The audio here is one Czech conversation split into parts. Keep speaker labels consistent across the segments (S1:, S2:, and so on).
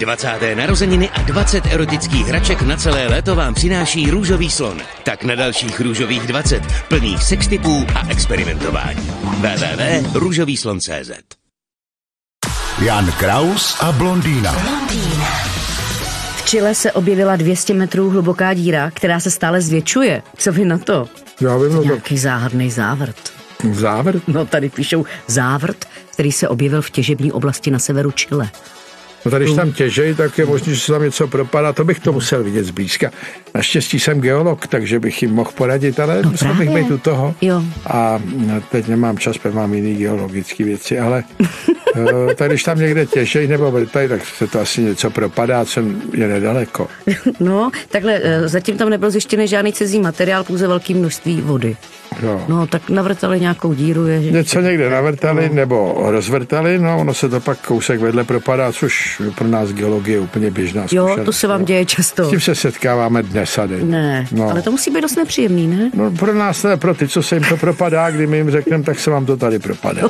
S1: 20. narozeniny a 20 erotických hraček na celé léto vám přináší růžový slon. Tak na dalších růžových 20 plných sextipů a experimentování. www.růžovýslon.cz
S2: Jan Kraus a blondýna.
S3: V Chile se objevila 200 metrů hluboká díra, která se stále zvětšuje. Co vy na to?
S4: Já vím, no tak
S3: Nějaký záhadný závrt.
S4: závěr.
S3: No tady píšou závrt, který se objevil v těžební oblasti na severu Chile.
S4: No tady, když tam těžej, tak je možné, že se tam něco propadá. To bych to musel vidět zblízka. Naštěstí jsem geolog, takže bych jim mohl poradit, ale no musel bych
S3: právě.
S4: být u toho.
S3: Jo.
S4: A no, teď nemám čas, protože mám jiný geologické věci, ale eh, tady, když tam někde těžej nebo vrtají, tak se to asi něco propadá, co je nedaleko.
S3: No, takhle eh, zatím tam nebyl zjištěný žádný cizí materiál, pouze velké množství vody.
S4: No.
S3: No, tak navrtali nějakou díru, je,
S4: Něco někde navrtali nebo rozvrtali, no ono se to pak kousek vedle propadá, což pro nás geologie je úplně běžná
S3: Jo,
S4: zkušenost.
S3: to se vám
S4: no.
S3: děje
S4: S
S3: často.
S4: tím se setkáváme dnes a denně.
S3: Ne,
S4: no.
S3: ale to musí být dost nepříjemný, ne?
S4: No pro nás ne, pro ty, co se jim to propadá, kdy my jim řekneme, tak se vám to tady propadá.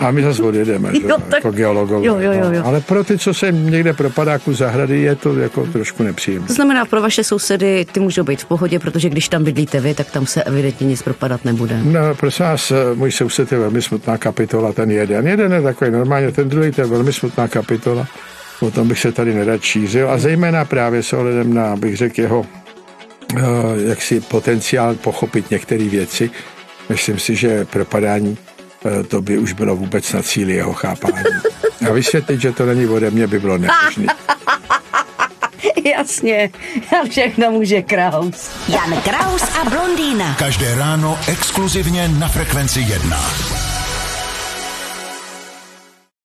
S4: A my zase odjedeme, že,
S3: Jo,
S4: jo,
S3: tak-
S4: jako geologové.
S3: jo, jo, jo, jo.
S4: No. Ale pro ty, co se jim někde propadá kus zahrady, je to jako trošku nepříjemné.
S3: To znamená, pro vaše sousedy ty můžou být v pohodě, protože když tam bydlíte vy, tak tam se evidentně nic propadat nebude.
S4: No, prosím vás, eh, můj soused je velmi smutná kapitola, ten jeden. Jeden je takový normálně, ten druhý to je velmi smutná kapitola. O tom bych se tady nerad šířil. A zejména právě s ohledem na, bych řekl, jeho eh, jaksi potenciál pochopit některé věci. Myslím si, že propadání eh, to by už bylo vůbec na cíli jeho chápání. A vysvětlit, že to není ode mě, by bylo nemožné.
S3: Jasně, a všechno může Kraus.
S5: Jan Kraus a blondýna.
S2: Každé ráno exkluzivně na Frekvenci 1.